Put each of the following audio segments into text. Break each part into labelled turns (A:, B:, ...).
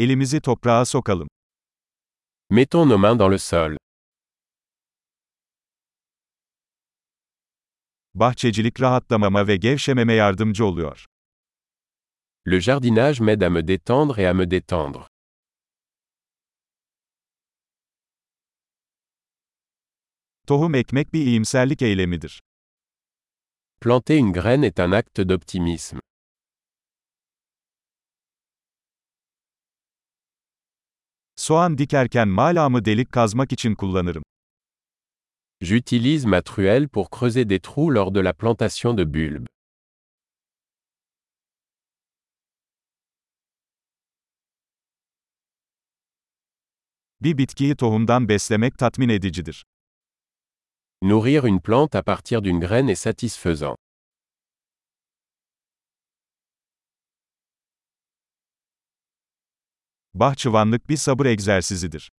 A: Elimizi toprağa sokalım.
B: Mettons nos mains dans le sol.
A: Bahçecilik rahatlamama ve gevşememe yardımcı oluyor.
B: Le jardinage m'aide à me détendre et à me détendre.
A: Tohum ekmek bir iyimserlik eylemidir.
B: Planter une graine est un acte d'optimisme.
A: Soğan dikerken malamı delik kazmak için kullanırım.
B: J'utilise ma truelle pour creuser des trous lors de la plantation de bulbes.
A: Bir bitkiyi tohumdan beslemek tatmin edicidir.
B: Nourrir une plante à partir d'une graine est satisfaisant.
A: Bahçıvanlık bir sabır egzersizidir.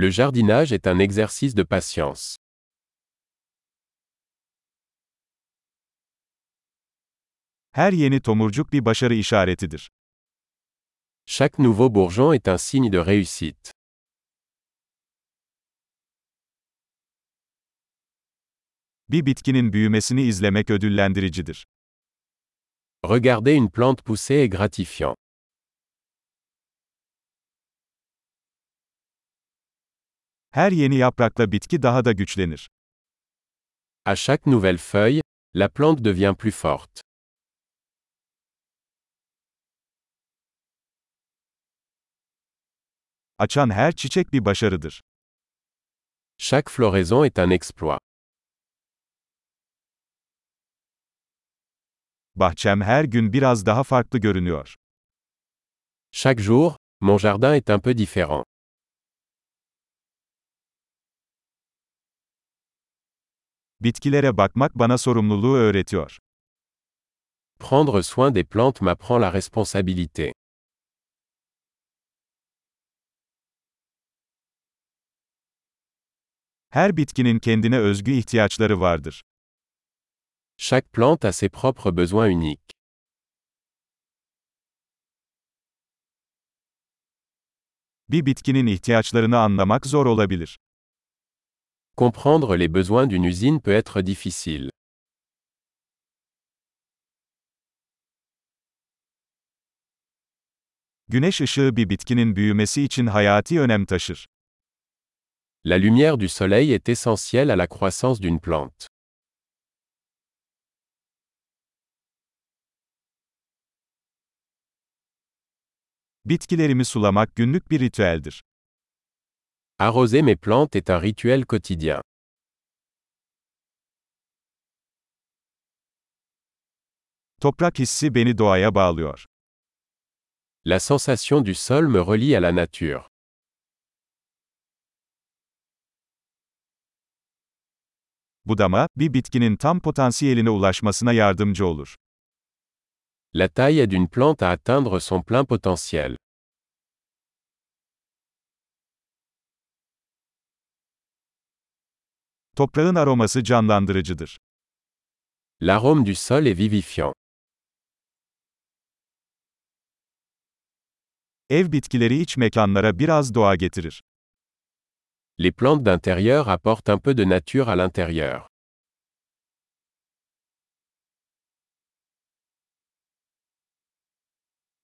B: Le jardinage est un exercice de patience.
A: Her yeni tomurcuk bir başarı işaretidir.
B: Chaque nouveau bourgeon est un signe de réussite.
A: Bir bitkinin büyümesini izlemek ödüllendiricidir.
B: Regarder une plante pousser est gratifiant.
A: Her yeni yaprakla bitki daha da güçlenir.
B: À chaque nouvelle feuille, la plante devient plus forte.
A: Açan her çiçek bir başarıdır.
B: Chaque floraison est un exploit.
A: Bahçem her gün biraz daha farklı görünüyor.
B: Chaque jour, mon jardin est un peu différent.
A: Bitkilere bakmak bana sorumluluğu öğretiyor.
B: Prendre soin des plantes m'apprend la responsabilité.
A: Her bitkinin kendine özgü ihtiyaçları vardır.
B: Chaque plante a ses propres besoins uniques.
A: Bir bitkinin ihtiyaçlarını anlamak zor olabilir.
B: Comprendre les besoins d'une usine peut être difficile.
A: Güneş ışığı bir bitkinin büyümesi için hayati önem taşır.
B: La lumière du soleil est essentielle à la croissance d'une plante.
A: Bitkilerimi sulamak günlük bir ritüeldir.
B: Arroser mes plantes est un rituel quotidien.
A: Toprak hissi beni doğaya bağlıyor.
B: La sensation du sol me relie à la nature.
A: Budama, bir bitkinin tam potansiyeline ulaşmasına yardımcı olur.
B: La taille aide une plante à atteindre son plein potentiel.
A: Toprağın aroması canlandırıcıdır.
B: L'arôme du sol est vivifiant.
A: Ev bitkileri iç mekanlara biraz doğa getirir.
B: Les plantes d'intérieur apportent un peu de nature à l'intérieur.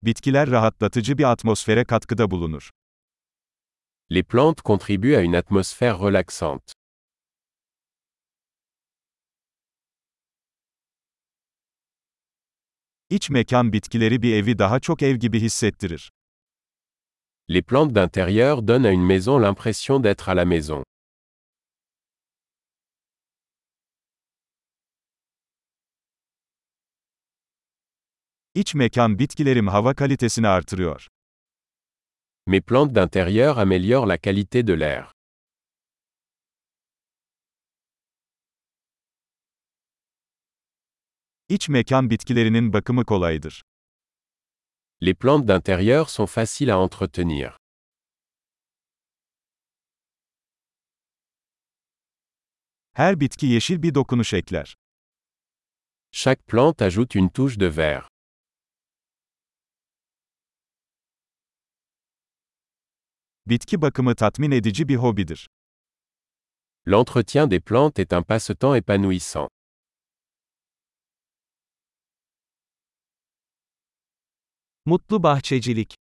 A: Bitkiler rahatlatıcı bir atmosfere katkıda bulunur.
B: Les plantes contribuent à une atmosphère relaxante.
A: İç mekan bitkileri bir evi daha çok ev gibi hissettirir.
B: Les plantes d'intérieur donnent à une maison l'impression d'être à la maison.
A: İç mekan bitkilerim hava kalitesini artırıyor.
B: Mes plantes d'intérieur améliorent la qualité de l'air.
A: İç mekan bitkilerinin bakımı kolaydır.
B: Les plantes d'intérieur sont faciles à entretenir.
A: Her bitki yeşil bir dokunuş ekler.
B: Chaque plante ajoute une touche de vert.
A: Bitki bakımı tatmin edici bir hobidir.
B: L'entretien des plantes est un passe-temps épanouissant.
C: Mutlu bahçecilik.